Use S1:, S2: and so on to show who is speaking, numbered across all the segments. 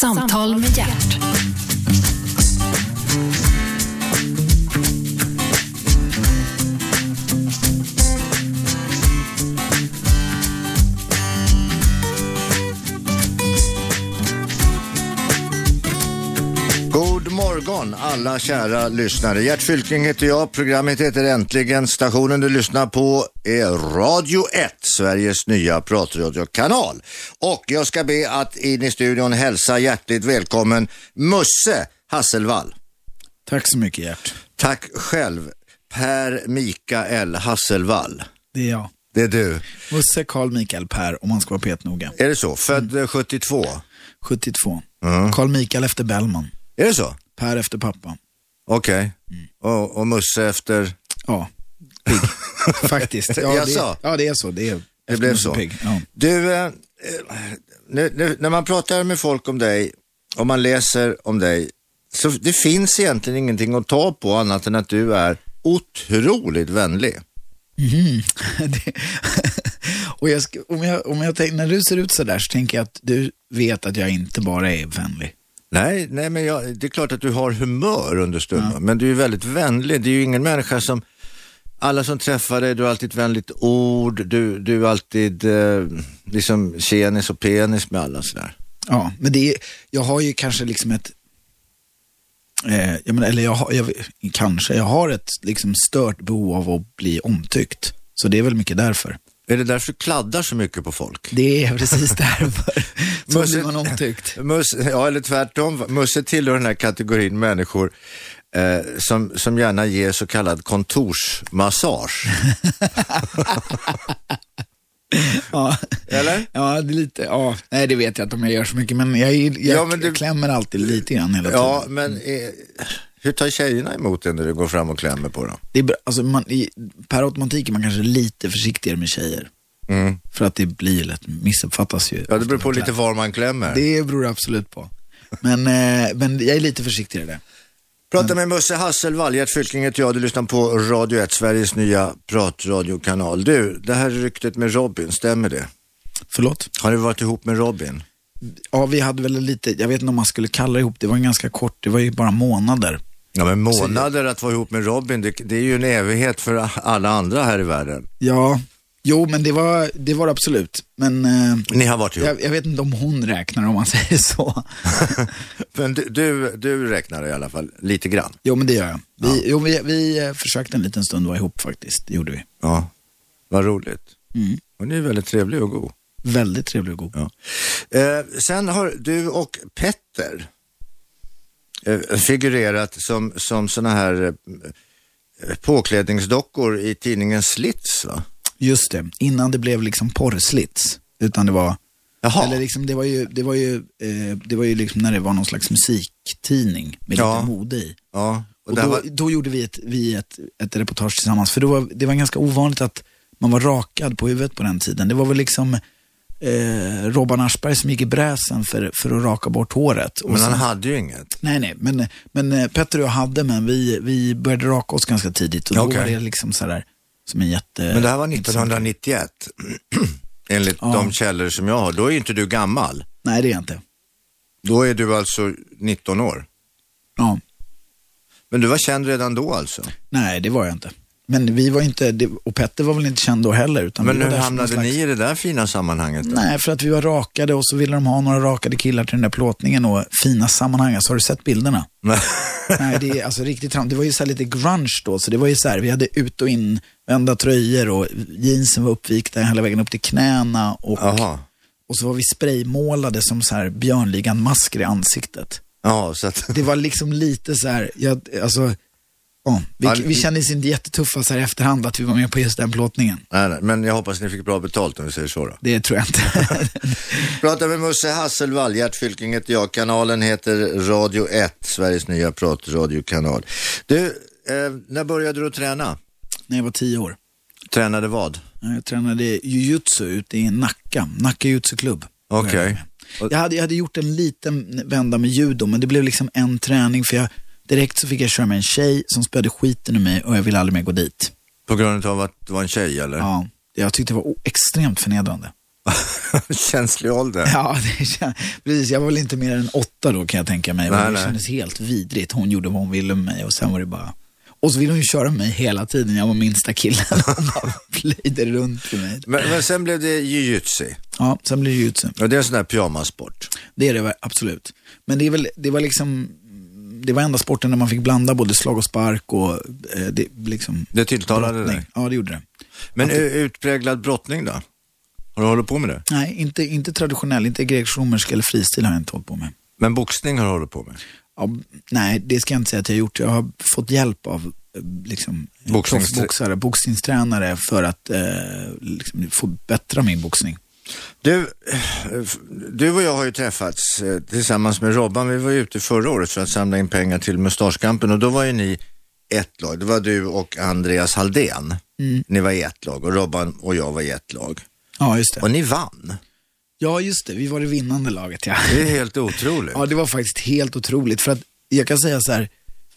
S1: Samtal med hjärt.
S2: God morgon alla kära lyssnare. Gert Fylking heter jag. Programmet heter Äntligen. Stationen du lyssnar på är Radio 1, Sveriges nya pratradiokanal. Och jag ska be att in i studion hälsa hjärtligt välkommen Musse Hasselvall.
S3: Tack så mycket Gert.
S2: Tack själv, Per Mikael Hasselvall.
S3: Det är jag.
S2: Det är du.
S3: Musse Karl Mikael Per om man ska vara petnoga.
S2: Är det så? Född 72?
S3: 72. Karl Mikael efter Bellman.
S2: Är det så?
S3: Per efter pappa.
S2: Okej. Och, och Musse efter?
S3: Ja, pigg. Faktiskt. Ja,
S2: Jaså?
S3: det, ja, det är så. Det, är,
S2: Det blev så.
S3: Pigg. Ja.
S2: Du, eh, eh, nu, nu, när man pratar med folk om dig och man läser om dig, så det finns egentligen ingenting att ta på annat än att du är otroligt vänlig.
S3: Mhm. Det- och jag, sk- om jag, om jag tänk, när du ser ut så där så tänker jag att du vet att jag inte bara är vänlig.
S2: Nej, nej men jag, det är klart att du har humör under stunden, men du är väldigt vänlig. Det är ju ingen människa som, alla som träffar dig, du har alltid ett vänligt ord, du, du är alltid eh, liksom tjenis och penis med alla sådär.
S3: Ja, men det är, jag har ju kanske liksom ett, eh, jag menar, eller jag, har, jag kanske, jag har ett liksom stört behov av att bli omtyckt. Så det är väl mycket därför.
S2: Är det därför du kladdar så mycket på folk?
S3: Det är precis därför. Så
S2: Musse-
S3: blir man omtyckt.
S2: Mus, ja, eller tvärtom. Musse tillhör den här kategorin människor eh, som, som gärna ger så kallad kontorsmassage.
S3: Ja.
S2: Eller?
S3: ja, det är lite, ja, nej det vet jag inte om jag gör så mycket, men jag, jag,
S2: Ja, men du-
S3: jag klämmer alltid lite grann hela tiden.
S2: Ja, men eh, hur tar tjejerna emot det när du går fram och klämmer på dem?
S3: Det är, bra- alltså man, i, per automatik är man kanske lite försiktigare med tjejer.
S2: Mm.
S3: För att det blir lätt, missuppfattas ju.
S2: Ja, det beror på lite var man klämmer.
S3: Det beror det absolut på. Men, eh, men jag är lite försiktigare där.
S2: Prata med Musse Hasselvall, Gert Fylking heter jag, du lyssnar på Radio 1, Sveriges nya pratradiokanal. Du, det här ryktet med Robin, stämmer det?
S3: Förlåt?
S2: Har du varit ihop med Robin?
S3: Ja, vi hade väl lite, jag vet inte om man skulle kalla det ihop, det var en ganska kort, det var ju bara månader.
S2: Ja, men månader att vara ihop med Robin, det, det är ju en evighet för alla andra här i världen.
S3: Ja, jo men det var det var det absolut. Men eh,
S2: Ni har varit ihop.
S3: jag, jag vet inte om hon räknar om man säger så.
S2: Men du, du, du räknar i alla fall lite grann.
S3: jo men det gör jag. Vi, jo, vi, vi eh, försökte en liten stund vara ihop faktiskt, det gjorde vi.
S2: Ja. Vad roligt.
S3: Mm.
S2: Hon är väldigt trevlig och god.
S3: Väldigt trevlig och god.
S2: Ja. Eh, sen har du och Petter eh, figurerat som, som sådana här eh, påklädningsdockor i tidningen Slits va?
S3: Just det, innan det blev liksom porrslits. Utan det var,
S2: Jaha.
S3: eller liksom det var ju, det var ju, eh, det var ju liksom när det var någon slags musiktidning med
S2: Ja.
S3: lite mode i.
S2: Ja, och
S3: Och
S2: det
S3: då,
S2: här var,
S3: då gjorde vi ett, vi ett, ett reportage tillsammans, för då var, det var ganska ovanligt att man var rakad på huvudet på den tiden. Det var väl liksom eh, Robban Aschberg som gick i bräsen för, för att raka bort håret. Och
S2: men
S3: sen-
S2: han hade ju inget.
S3: Nej, nej, men, men eh, Petter och jag hade, men vi, vi började raka oss ganska tidigt och då
S2: Okej.
S3: var det liksom sådär, som en jätte...
S2: Men det här var 1991. Enligt
S3: Ja.
S2: de källor som jag har. Då är ju inte du gammal.
S3: Nej, det är jag inte.
S2: Då är du alltså 19 år.
S3: Ja,
S2: Men du var känd redan då alltså?
S3: nej, det var jag inte. Men vi var inte, det, och Petter var väl inte känd då heller. Utan
S2: Men
S3: vi var
S2: hur
S3: där som
S2: hamnade
S3: någon slags-
S2: ni i det där fina sammanhanget? då?
S3: Nej, för att vi var rakade och så ville de ha några rakade killar till den där plåtningen och fina sammanhang. Alltså, har du sett bilderna? Nej, det är alltså riktigt tram. Det var ju så här lite grunge då, så det var ju så här, vi hade ut och in vända tröjor och jeansen var uppvikta hela vägen upp till knäna och,
S2: Jaha.
S3: och så var vi spraymålade som så här björnligan-masker i ansiktet.
S2: Ja, så att...
S3: Det var liksom lite så här, jag, alltså, ja, vi,
S2: Ja,
S3: vi kändes inte jättetuffa så här i efterhand att vi var med på just den plåtningen.
S2: Nej, nej. Men jag hoppas ni fick bra betalt om vi säger så då.
S3: Det tror jag inte.
S2: Prata med Musse Hasselvall, Gert Fylking heter jag. Kanalen heter Radio 1, Sveriges nya pratradiokanal. Du, eh, när började du att träna?
S3: När jag var tio år.
S2: Tränade vad?
S3: Ja, Jag tränade jujutsu ute i Nacka, Nacka jujutsu-klubb.
S2: Okej. Och-
S3: Jag, hade, jag hade gjort en liten vända med judo, men det blev liksom en träning för jag, direkt så fick jag köra med en tjej som spöade skiten ur mig och jag ville aldrig mer gå dit.
S2: På grund av att det var en tjej eller?
S3: Ja, jag tyckte det var o- extremt förnedrande.
S2: Känslig ålder.
S3: Ja, det kän- precis. Jag var väl inte mer än åtta då kan jag tänka mig.
S2: Nej,
S3: men det
S2: nej.
S3: kändes helt vidrigt. Hon gjorde vad hon ville med mig och sen var det bara... Och så ville hon ju köra med mig hela tiden. Jag var minsta killen. Hon bara plöjde runt i mig.
S2: Men, men sen blev det jujutsu.
S3: Ja, sen blev det jujutsu.
S2: Och det är en sån där pyjamasport.
S3: Det är det väl, absolut. Men det, är väl, det var liksom... Det var enda sporten där man fick blanda både slag och spark och eh, det, liksom...
S2: Det tilltalade
S3: brottning.
S2: dig.
S3: Ja, det gjorde det.
S2: Men ö- utpräglad brottning då? Har du hållit på med det?
S3: Nej, inte, inte traditionell, inte grekisk-romersk eller fristil har jag inte hållit på med.
S2: Men boxning har du hållit på med?
S3: Ja, nej, det ska jag inte säga att jag har gjort. Jag har fått hjälp av eh, liksom,
S2: Boxningsträ-
S3: proffsboxare, boxningstränare för att eh, liksom, förbättra min boxning.
S2: Du, eh, f- du och jag har ju träffats eh, tillsammans med Robban. Vi var ju ute förra året för att samla in pengar till Mustaschkampen och då var ju ni ett lag. Det var du och Andreas Halldén. Ni var i ett lag och Robban och jag var i ett lag.
S3: Ja, just det.
S2: Och ni vann.
S3: Ja, just det. Vi var det vinnande laget, ja.
S2: Det är helt otroligt.
S3: Ja, det var faktiskt helt otroligt. För att jag kan säga så här,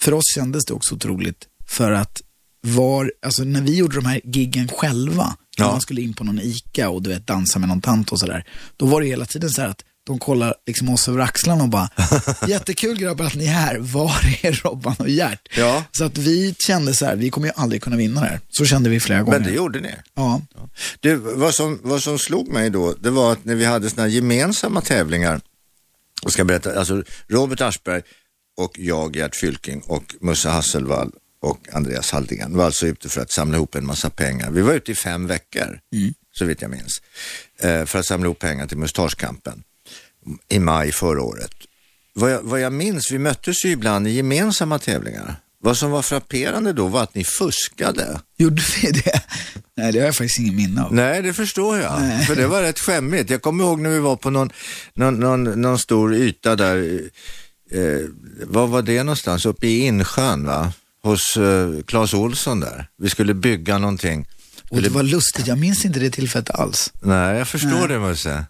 S3: för oss kändes det också otroligt för att var, alltså när vi gjorde de här giggen själva,
S2: Ja.
S3: när man skulle in på någon ICA och du vet dansa med någon tant och sådär, då var det hela tiden så här att de kollar liksom oss över axlarna och bara, jättekul grabbar att ni är här, var är Robban och Gert?
S2: Ja.
S3: Så att vi kände så här, vi kommer ju aldrig kunna vinna det här. Så kände vi flera gånger.
S2: Men det gjorde ni.
S3: Ja,
S2: Du, vad som, vad som slog mig då, det var att när vi hade såna här gemensamma tävlingar, och ska berätta, alltså Robert Aschberg och jag, Gert Fylking och Musse Hasselvall och Andreas Halldén var alltså ute för att samla ihop en massa pengar. Vi var ute i fem veckor, så vitt jag minns, eh, för att samla ihop pengar till Mustaschkampen i maj förra året. Vad jag, vad jag minns, vi möttes ju ibland i gemensamma tävlingar. Vad som var frapperande då var att ni fuskade.
S3: gjorde vi det? Nej, det har jag faktiskt ingen minne av.
S2: Nej, det förstår jag. För det var rätt skämmigt. Jag kommer ihåg när vi var på någon, någon, någon, någon stor yta där. Eh, var var det någonstans? Uppe i Insjön, va? Hos eh, Claes Olsson där. Vi skulle bygga någonting.
S3: Och det var lustigt, jag minns inte det tillfället alls.
S2: Nej, jag förstår det Musse.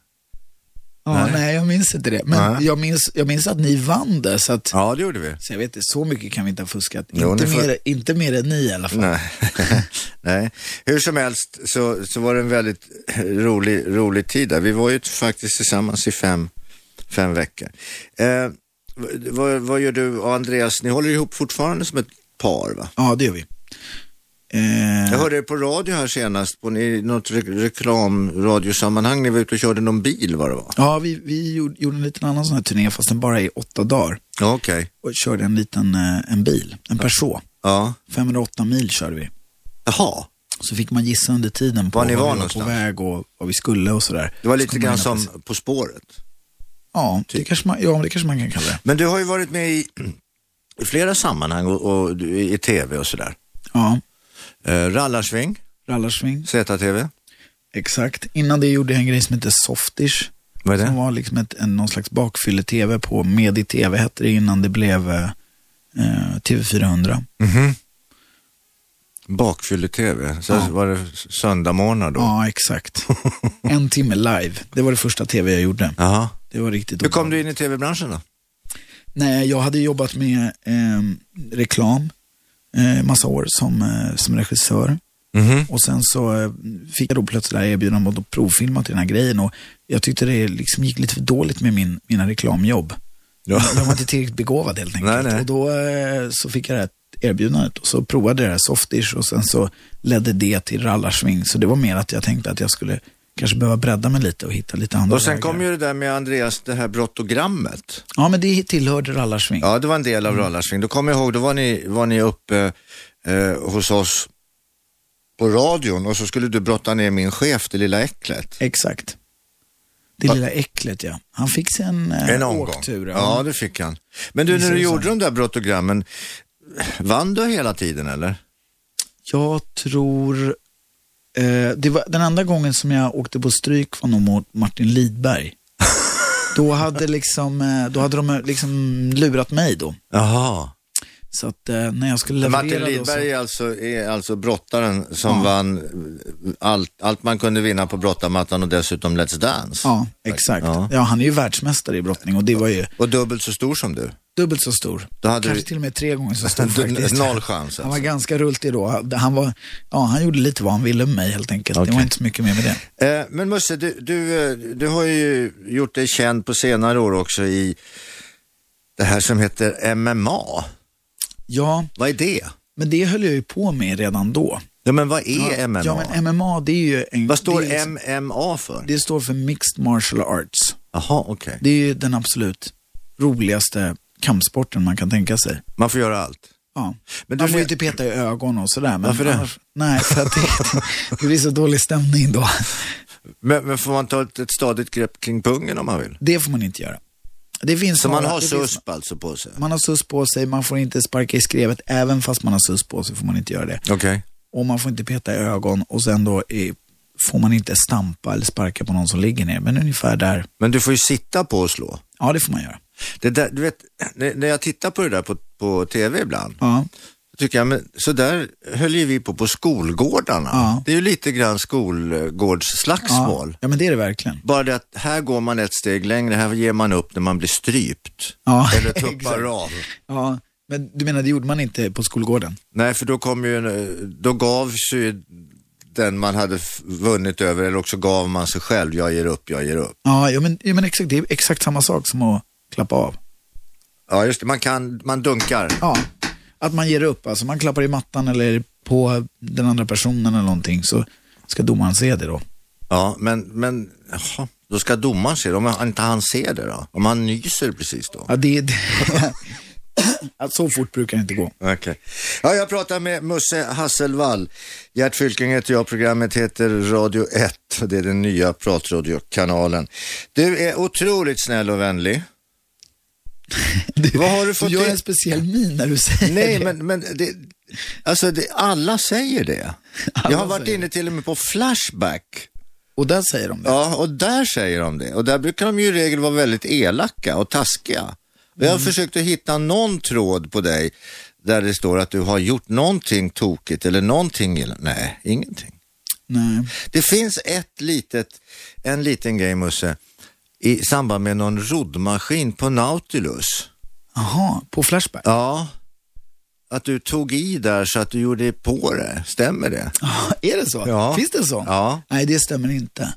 S3: Ja, nej. jag minns inte det. Men
S2: Nej.
S3: jag minns, jag minns att ni vann det, så att
S2: Ja, det gjorde vi.
S3: så jag vet inte, så mycket kan vi inte ha fuskat.
S2: Jo,
S3: inte,
S2: ni får-
S3: mer, inte mer än ni i alla fall.
S2: Nej. Nej. Hur som helst så, så var det en väldigt rolig, rolig tid där. Vi var ju faktiskt tillsammans i fem, fem veckor. Eh, vad, vad gör du och Andreas? Ni håller ihop fortfarande som ett par va?
S3: Ja, det gör vi.
S2: Jag
S3: Eh,
S2: hörde er på radio här senast, på i något re- reklamradiosammanhang. Ni var ute och körde någon bil vad det var.
S3: ja, vi, vi gjorde, gjorde en liten annan sån här turné, fast den bara i åtta dagar.
S2: Ja, Okej,
S3: Och körde en liten eh, en bil, en Peugeot.
S2: ja.
S3: 508 mil körde vi.
S2: Jaha,
S3: Så fick man gissa under tiden på
S2: Var ni var
S3: vi var på
S2: någonstans?
S3: väg och vad vi skulle och sådär.
S2: det var
S3: Så
S2: lite
S3: kom man
S2: grann
S3: in och
S2: som typ- På spåret.
S3: Ja, det kanske man, ja, det kanske man kan kalla det.
S2: Men du har ju varit med i, i flera sammanhang och, och du- i tv och sådär.
S3: Ja,
S2: Eh, rallarsving,
S3: rallarsving.
S2: ZTV.
S3: Exakt. Innan det gjorde jag en grej som hette Softish.
S2: Vad är
S3: Som
S2: det?
S3: var liksom ett, en, någon slags bakfylle-tv på Medi-TV hette det innan det blev eh, TV400.
S2: Bakfylle-TV. Så var det söndagmorgnar då.
S3: Ja, exakt. En timme live. Det var det första tv jag gjorde.
S2: Jaha.
S3: Det var riktigt
S2: Hur kom
S3: obehagligt.
S2: du in i tv-branschen då?
S3: Nej, jag hade jobbat med ehm, reklam eh, massa år som, eh, som regissör.
S2: Mhm.
S3: Och sen så eh, fick jag då plötsligt det här erbjudandet om att provfilma till den här grejen och jag tyckte det liksom gick lite för dåligt med min, mina reklamjobb.
S2: Ja.
S3: Jag var inte tillräckligt begåvad helt enkelt.
S2: Nej, nej.
S3: Och då eh, så fick jag det här erbjudandet och så provade jag det här softish och sen så ledde det till rallarsving. Så det var mer att jag tänkte att jag skulle kanske behöva bredda mig lite och hitta lite andra
S2: Och sen
S3: vägar.
S2: kom ju det där med Andreas, det här brottogrammet.
S3: Ja, men det tillhörde rallarsving.
S2: Ja, det var en del av rallarsving. Då kommer jag ihåg, då var ni, var ni uppe eh, hos oss på radion och så skulle du brotta ner min chef, det lilla äcklet.
S3: Exakt. Det lilla äcklet ja. Han fick sig en, eh,
S2: En omgång.
S3: åktur.
S2: ja. det fick han. Men du, när du
S3: Precis så.
S2: gjorde de där brottogrammen, vann du hela tiden eller?
S3: Jag tror... Eh, det var, den enda gången som jag åkte på stryk var nog mot Martin Lidberg. då, hade liksom, eh, då hade de eh, liksom lurat mig då.
S2: Jaha.
S3: Så att eh, när jag skulle leverera
S2: Martin
S3: då så,
S2: Lidberg är alltså, är alltså brottaren som vann allt, allt man kunde vinna på brottarmattan och dessutom Let's Dance.
S3: Ja, exakt.
S2: Ja.
S3: Ja. han är ju världsmästare i brottning och det var ju
S2: Och dubbelt så stor som du.
S3: Dubbelt så stor.
S2: Då hade
S3: Kanske
S2: du-
S3: till och med tre gånger så stor
S2: Du-
S3: faktiskt.
S2: noll chans,
S3: Han var
S2: alltså.
S3: ganska rultig då. Han, var, ja, han gjorde lite vad han ville med mig helt enkelt. Det
S2: Okej.
S3: var inte så mycket mer med det.
S2: Eh, Men Musse, du, du, eh, du har ju gjort dig känd på senare år också i det här som heter MMA.
S3: Ja,
S2: Vad är det?
S3: men det höll jag ju på med redan då.
S2: Ja, men vad är MMA?
S3: Ja, men MMA det är ju en...
S2: vad står
S3: det är, liksom-
S2: MMA för?
S3: Det står för Mixed Martial Arts.
S2: Jaha, okej.
S3: Det är ju den absolut roligaste kampsporten man kan tänka sig.
S2: Man får göra allt.
S3: Ja.
S2: Men du
S3: Men du man får ju
S2: le-
S3: inte peta i ögon och sådär. Men
S2: Varför det?
S3: nej, för att det, det blir så dålig stämning då.
S2: Men, men får man ta ett, ett stadigt grepp kring pungen om man vill?
S3: Det får man inte göra. Det finns
S2: Så man
S3: några-
S2: har
S3: det finns-
S2: susp alltså på sig?
S3: Man har sus på sig, man får inte sparka i skrevet. Även fast man har sus på sig får man inte göra det.
S2: Okej.
S3: Och man får inte peta i ögon och sen då i, får man inte stampa eller sparka på någon som ligger ner. Men ungefär där,
S2: Men du får ju sitta på och slå.
S3: ja det får man göra.
S2: Det där, du vet, när, när jag tittar på det där på, på tv ibland,
S3: Ja,
S2: så tycker jag, men så där höll ju vi på på skolgårdarna.
S3: Ja.
S2: Det är ju lite grann
S3: ja.
S2: skolgårdsslagsmål.
S3: ja men det är det verkligen.
S2: Bara det att här går man ett steg längre, här ger man upp när man blir strypt.
S3: Ja,
S2: Eller
S3: exakt.
S2: tuppar av.
S3: Ja, men du menar det gjorde man inte på skolgården?
S2: Nej, för då kom ju, en- då gavs ju den man hade f- vunnit över, eller också gav man sig själv, jag ger upp, jag ger upp.
S3: Ja, ja, men, ja, men exakt, det är exakt samma sak som att klappa av.
S2: Ja, just det, man kan, man dunkar.
S3: Ja, att man ger upp, alltså man klappar i mattan eller på den andra personen eller någonting så ska domaren se det då.
S2: Ja, men, men, jaha, då ska domaren se det, om han- inte han ser det då? Om han nyser precis då?
S3: Ja, det, det att så fort brukar det inte gå.
S2: Okej. Ja, jag pratar med Musse Hasselvall. Gert Fylking heter jag, programmet heter Radio 1. Det är den nya pratradiokanalen. Du är otroligt snäll och vänlig.
S3: Du,
S2: Vad har du fått
S3: gör
S2: in?
S3: en speciell min när du säger
S2: Nej,
S3: det.
S2: men, men det, alltså det, alla säger det.
S3: Alla
S2: jag har varit
S3: säger
S2: inne till och med på Flashback.
S3: Och där säger de det.
S2: Ja, och där säger de det. Och där brukar de ju i regel vara väldigt elaka och taskiga. Och
S3: Mm.
S2: jag har försökt att hitta någon tråd på dig där det står att du har gjort någonting tokigt eller någonting illa. Nej, ingenting.
S3: Nej.
S2: Det finns ett litet, en liten grej Musse, i samband med någon roddmaskin på Nautilus.
S3: Jaha, på Flashback?
S2: Ja, att du tog i där så att du gjorde på det. Stämmer det?
S3: Är det så?
S2: Ja.
S3: Finns det en sån?
S2: Ja.
S3: Nej, det stämmer inte.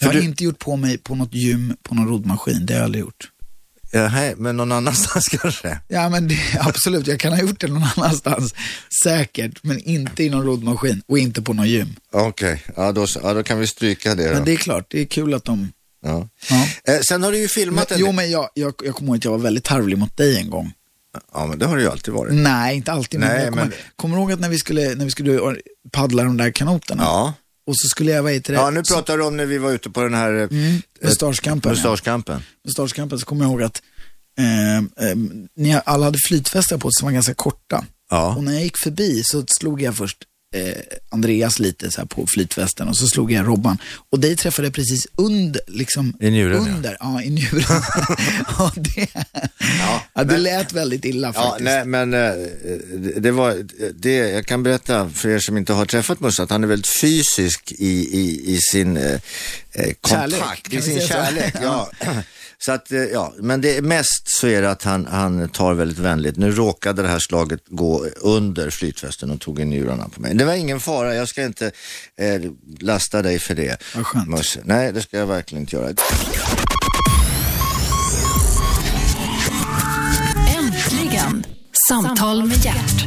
S3: Jag har
S2: För du-
S3: inte gjort på mig på något gym, på någon roddmaskin. Det har jag aldrig gjort.
S2: Ja, hej, men någon annanstans kanske?
S3: Ja, men det, absolut. Jag kan ha gjort det någon annanstans. Säkert, men inte i någon roddmaskin och inte på någon gym.
S2: Okej, ja, då, ja, då kan vi stryka det
S3: Men
S2: då.
S3: det är klart, det är kul att de...
S2: Ja.
S3: Ja.
S2: Eh, sen har du ju
S3: Men,
S2: filmat en
S3: jo, men jag, jag, jag kommer ihåg att jag var väldigt tarvlig mot dig en gång.
S2: Ja, men det har du ju alltid varit.
S3: Nej, inte alltid, men
S2: Mm. Nej,
S3: jag kommer,
S2: men-
S3: kommer ihåg att när vi skulle, när vi skulle paddla de där kanoterna
S2: Ja.
S3: och så skulle jag, vad heter det, Mm.
S2: ja, nu pratar du om när vi var ute på den här eh, eh,
S3: mustaschkampen. ja.
S2: mustaschkampen.
S3: Mustaschkampen så kommer jag ihåg att eh, eh, ni alla hade flytvästar på sig som var ganska korta.
S2: Ja.
S3: Och när jag gick förbi så slog jag först eh, Andreas lite så här på flytvästen och så slog jag Robban. Och dig träffade jag precis under, liksom,
S2: I njuren, ja.
S3: under, ja. i njuren. ja, det, ja, det lät väldigt illa
S2: Ja,
S3: faktiskt.
S2: nej, men eh, det- det var, det, jag kan berätta för er som inte har träffat Musse att han är väldigt fysisk i, i, i sin eh, eh, kontakt,
S3: Kärlek, kan
S2: i
S3: vi
S2: sin
S3: säga så?
S2: kärlek. Ja. Så att, eh, ja, men det, mest så är det att han, han tar väldigt vänligt. Nu råkade det här slaget gå under flytvästen och tog in njurarna på mig. Det var ingen fara, jag ska inte eh, lasta dig för det.
S3: Vad skönt.
S2: Musse. Nej, det ska jag verkligen inte göra.
S1: Äntligen! Samtal med hjärt.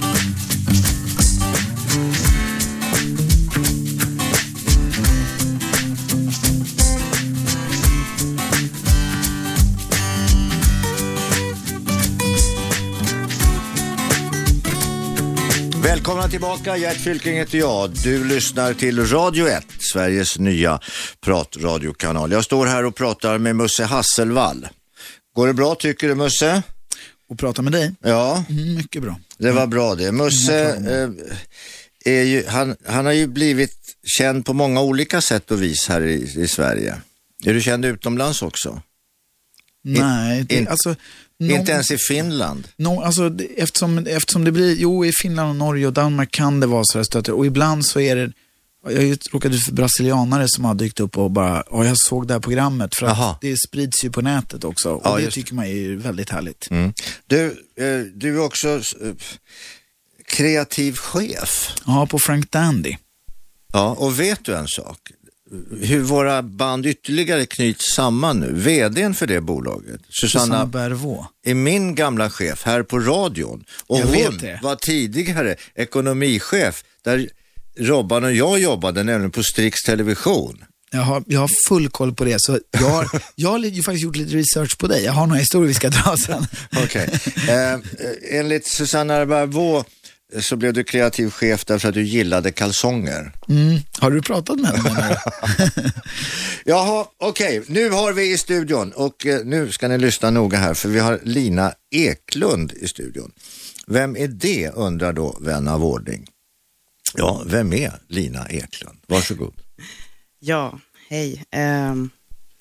S2: Välkomna tillbaka, Gert Fylking heter jag. Du lyssnar till Radio 1, Sveriges nya pratradiokanal. Jag står här och pratar med Musse Hasselvall. Går det bra tycker du Musse?
S3: Och prata med dig,
S2: Ja,
S3: mm, mycket bra.
S2: det var bra det. Musse, eh, är ju, han, han har ju blivit känd på många olika sätt och vis här i, i Sverige. Är du känd utomlands också?
S3: Nej, det,
S2: in-
S3: alltså, någon,
S2: Inte ens i Finland?
S3: någon, alltså det, eftersom, eftersom det blir, jo i Finland och Norge och Danmark kan det vara sådär stöter och ibland så är det Jag är ju råkade ut för brasilianare som har dykt upp och bara, ja jag såg det här programmet. För att
S2: Jaha.
S3: det sprids ju på nätet också. Och
S2: Ja,
S3: det
S2: just Mm.
S3: tycker man är ju väldigt härligt.
S2: Du, eh, du är också eh, kreativ chef.
S3: Ja, på Frank Dandy.
S2: Ja, och vet du en sak? Hur våra band ytterligare knyts samman nu. VDn för det bolaget, Susanna,
S3: Susanna Bervå.
S2: är min gamla chef här på radion. Och
S3: Jag vet
S2: hon
S3: det.
S2: var tidigare ekonomichef där Robban och jag jobbade, nämligen på Strix Television.
S3: Jag har, jag har full koll på det, så jag har, jag har ju faktiskt gjort lite research på dig. Jag har några historier vi ska dra sen.
S2: Okej. eh, enligt Susanna Barbå så blev du kreativ chef därför att du gillade kalsonger.
S3: Mm. Har du pratat med henne? menar du?
S2: Jaha, okej. Nu har vi i studion och eh, nu ska ni lyssna noga här för vi har Lina Eklund i studion. Vem är det undrar då vän av ordning. Ja, vem är Lina Eklund? Varsågod.
S4: Ja, hej. Ehm,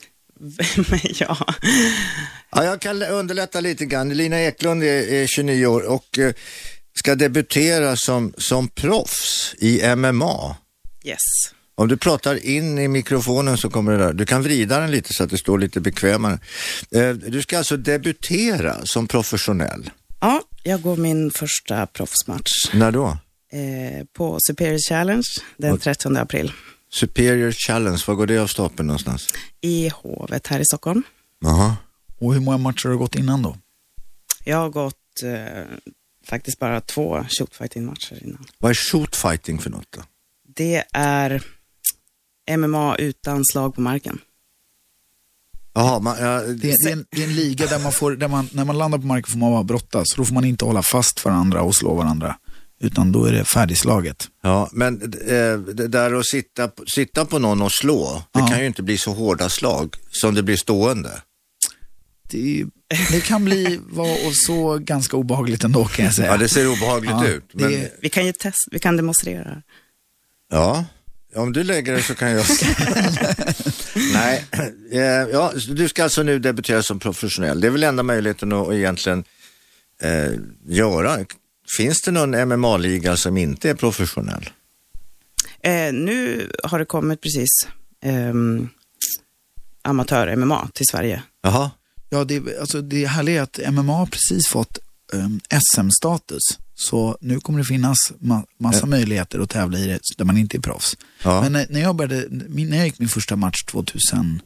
S4: vem är jag?
S2: Ja, jag kan underlätta lite grann. Lina Eklund är, är 29 år och eh, ska debutera som, som proffs i MMA.
S4: Yes.
S2: Om du pratar in i mikrofonen så kommer det där. Du kan vrida den lite så att det står lite bekvämare. Eh, Du ska alltså debutera som professionell.
S4: Ja, jag går min första proffsmatch
S2: När då?
S4: eh, på Superior Challenge den 13 april
S2: Superior Challenge, var går det av stapeln någonstans?
S4: i Hovet här i Stockholm.
S2: Jaha.
S3: Och hur många matcher har du gått innan då?
S4: Jag har gått eh, faktiskt bara två shootfighting-matcher innan.
S2: Vad är shootfighting för något då?
S4: Det är MMA utan slag på marken.
S2: Jaha, man, ja,
S3: Det är, det är, en, det är en liga där man får, där man, när man landar på marken får man bara brottas. Då får man inte hålla fast varandra och slå varandra. Utan då är det färdigslaget.
S2: ja, men eh, det där att sitta, på- sitta på någon och slå, det
S3: Ja.
S2: kan ju inte bli så hårda slag som det blir stående.
S3: Det, är- det kan bli vad och så ganska obehagligt ändå kan jag säga.
S2: Ja, det ser obehagligt
S3: Ja,
S2: ut.
S3: det-
S2: Men,
S4: Vi kan ju testa, vi kan demonstrera.
S2: Ja, om du lägger det så kan jag. Nej, eh, ja, så du ska alltså nu debutera som professionell. Det är väl enda möjligheten att, att egentligen eh, göra. Finns det någon MMA-liga som inte är professionell?
S4: Eh, nu har det kommit precis ehm, amatör-MMA till Sverige.
S2: Jaha,
S3: Ja, det, alltså det härliga är att MMA har precis fått ehm, SM-status. Så nu kommer det finnas ma- massa möjligheter att tävla i det där man inte är proffs.
S2: Ja.
S3: Men när, när jag började, min, när jag gick min första match eh, 2006,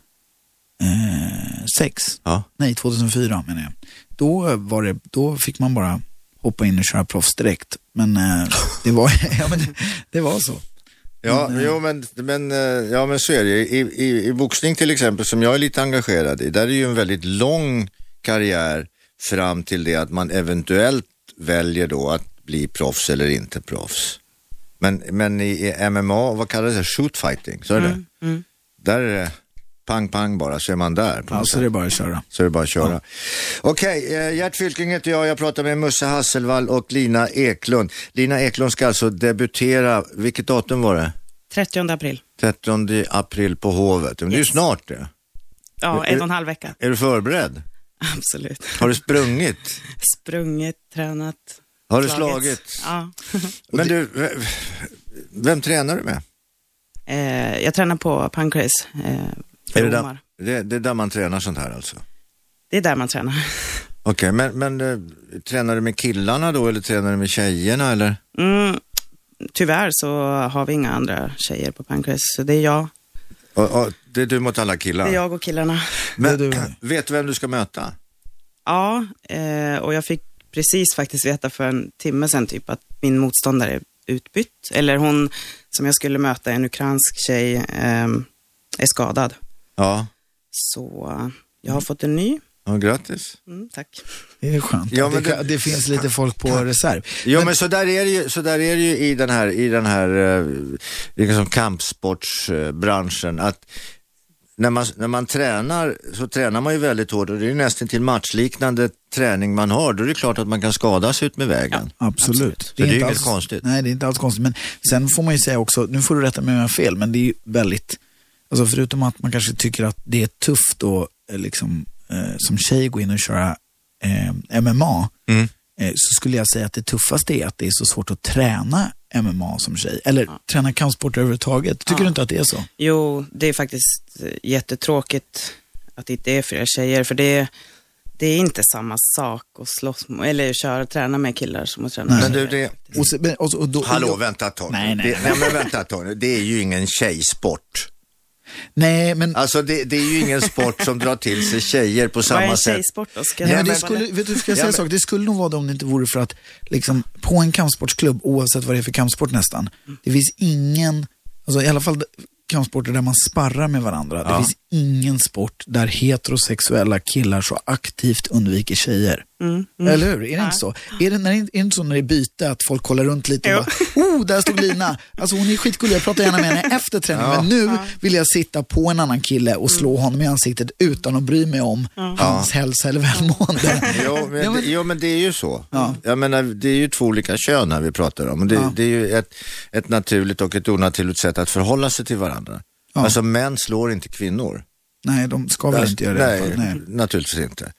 S2: ja.
S3: nej 2004 menar jag, då, var det, då fick man bara hoppa in och köra proffs direkt. Men eh, det, var, ja, men det, det var så.
S2: Ja, jo, men, men, eh, ja, men så är det ju. I, i, I boxning till exempel, som jag är lite engagerad i, där är det ju en väldigt lång karriär fram till det att man eventuellt väljer då att bli proffs eller inte proffs. Men, men i, i MMA, vad kallas det? Shootfighting, så är det. Där är det pang, pang bara, så är man där. På något
S3: Alltså
S2: sätt.
S3: det är bara att köra.
S2: Så är det bara att köra. Okej, eh, Gert Fylking heter jag. Jag pratar med Musse Hasselvall och Lina Eklund. Lina Eklund ska alltså debutera, vilket datum var det?
S4: 30 april.
S2: 13 april på Hovet. Men Det är ju snart det.
S4: Ja, en och en halv vecka.
S2: Är du förberedd?
S4: Absolut.
S2: Har du sprungit?
S4: Sprungit, tränat.
S2: Har du
S4: slagits.
S2: slagit?
S4: Ja.
S2: Men du, v- vem tränar du med?
S4: Eh, jag tränar på Pancrase. Eh, för
S2: Är det, där,
S4: ormar.
S2: det, det är där man tränar sånt här alltså?
S4: det är där man tränar.
S2: Okej, men, men eh, tränar du med killarna då eller tränar du med tjejerna eller?
S4: Mm, tyvärr så har vi inga andra tjejer på Pancrase, så det är jag.
S2: Och, och, det är du mot alla killar?
S4: Det är jag och killarna.
S2: Men
S3: Det är
S2: vet du vem du ska möta?
S4: Ja, eh, och jag fick precis faktiskt veta för en timme sedan typ att min motståndare är utbytt. Eller hon som jag skulle möta, en ukrainsk tjej, eh, är skadad.
S2: Ja,
S4: Så eh, jag har fått en ny.
S2: ja grattis.
S4: Mm, tack.
S3: Det är skönt.
S2: Ja, men
S3: det, kan-
S2: det-
S3: det finns lite folk på reserv.
S2: Jo men, så där är det ju, så där är det ju i den här, i den här eh, liksom kampsportsbranschen eh, att när man, när man tränar så tränar man ju väldigt hårt och det är ju nästan till matchliknande träning man har. Då är det klart att man kan skadas ut med vägen.
S3: Absolut.
S2: det är
S3: inte
S2: inget konstigt.
S3: Nej, det är inte alls konstigt. Men sen får man ju säga också, nu får du rätta mig om jag har fel, men det är ju väldigt, alltså förutom att man kanske tycker att det är tufft då, eh, liksom, eh, som tjej gå in och köra eh, MMA, eh, så skulle jag säga att det tuffaste är att det är så svårt att träna MMA som tjej. Eller träna kampsport överhuvudtaget. Tycker du inte att det är så?
S4: Jo, det är faktiskt eh, jättetråkigt att det inte är fler tjejer, för det är, det är inte samma sak att slåss mot- eller köra och träna med killar som att träna med
S2: Men du,
S4: tjejer.
S2: det,
S3: Och så, men- och, så- och då,
S2: hallå vänta ett tag.
S3: Nej, nej.
S2: Det, nej men vänta ett tag nu. Det är ju ingen tjejsport.
S3: Nej, men
S2: Alltså det, det är ju ingen sport som drar till sig tjejer på
S4: Vad är
S2: samma
S4: en
S2: sätt.
S4: tjejsport då? Ska
S3: Nej,
S4: jag
S3: men det
S4: bara-
S3: skulle, vet du, ska jag säga
S2: Ja,
S3: en
S2: men-
S3: sak? Det skulle nog vara det om det inte vore för att liksom, på en kampsportsklubb, oavsett vad det är för kampsport nästan, det finns ingen, alltså, i alla fall kampsporter där man sparrar med varandra, det finns ingen sport där heterosexuella killar så aktivt undviker tjejer. Eller hur? Är det inte så? Är det, när, är det inte så när det är byte att folk kollar runt lite och bara, oh, där stod Lina. Alltså hon är skitgullig, jag pratar gärna med henne efter träningen, men nu vill jag sitta på en annan kille och slå honom i ansiktet utan att bry mig om hans hälsa eller välmående.
S2: Jo men,
S3: Ja, men-
S2: Det, jo, men det är ju så. Jag menar, det är ju två olika kön här vi pratar om. Det, det är ju ett, ett naturligt och ett onaturligt sätt att förhålla sig till varandra.
S3: Ja.
S2: Alltså män slår inte kvinnor.
S3: Nej, de ska väl inte göra det.
S2: nej,
S3: i alla fall. Nej. Mm.
S2: naturligtvis inte.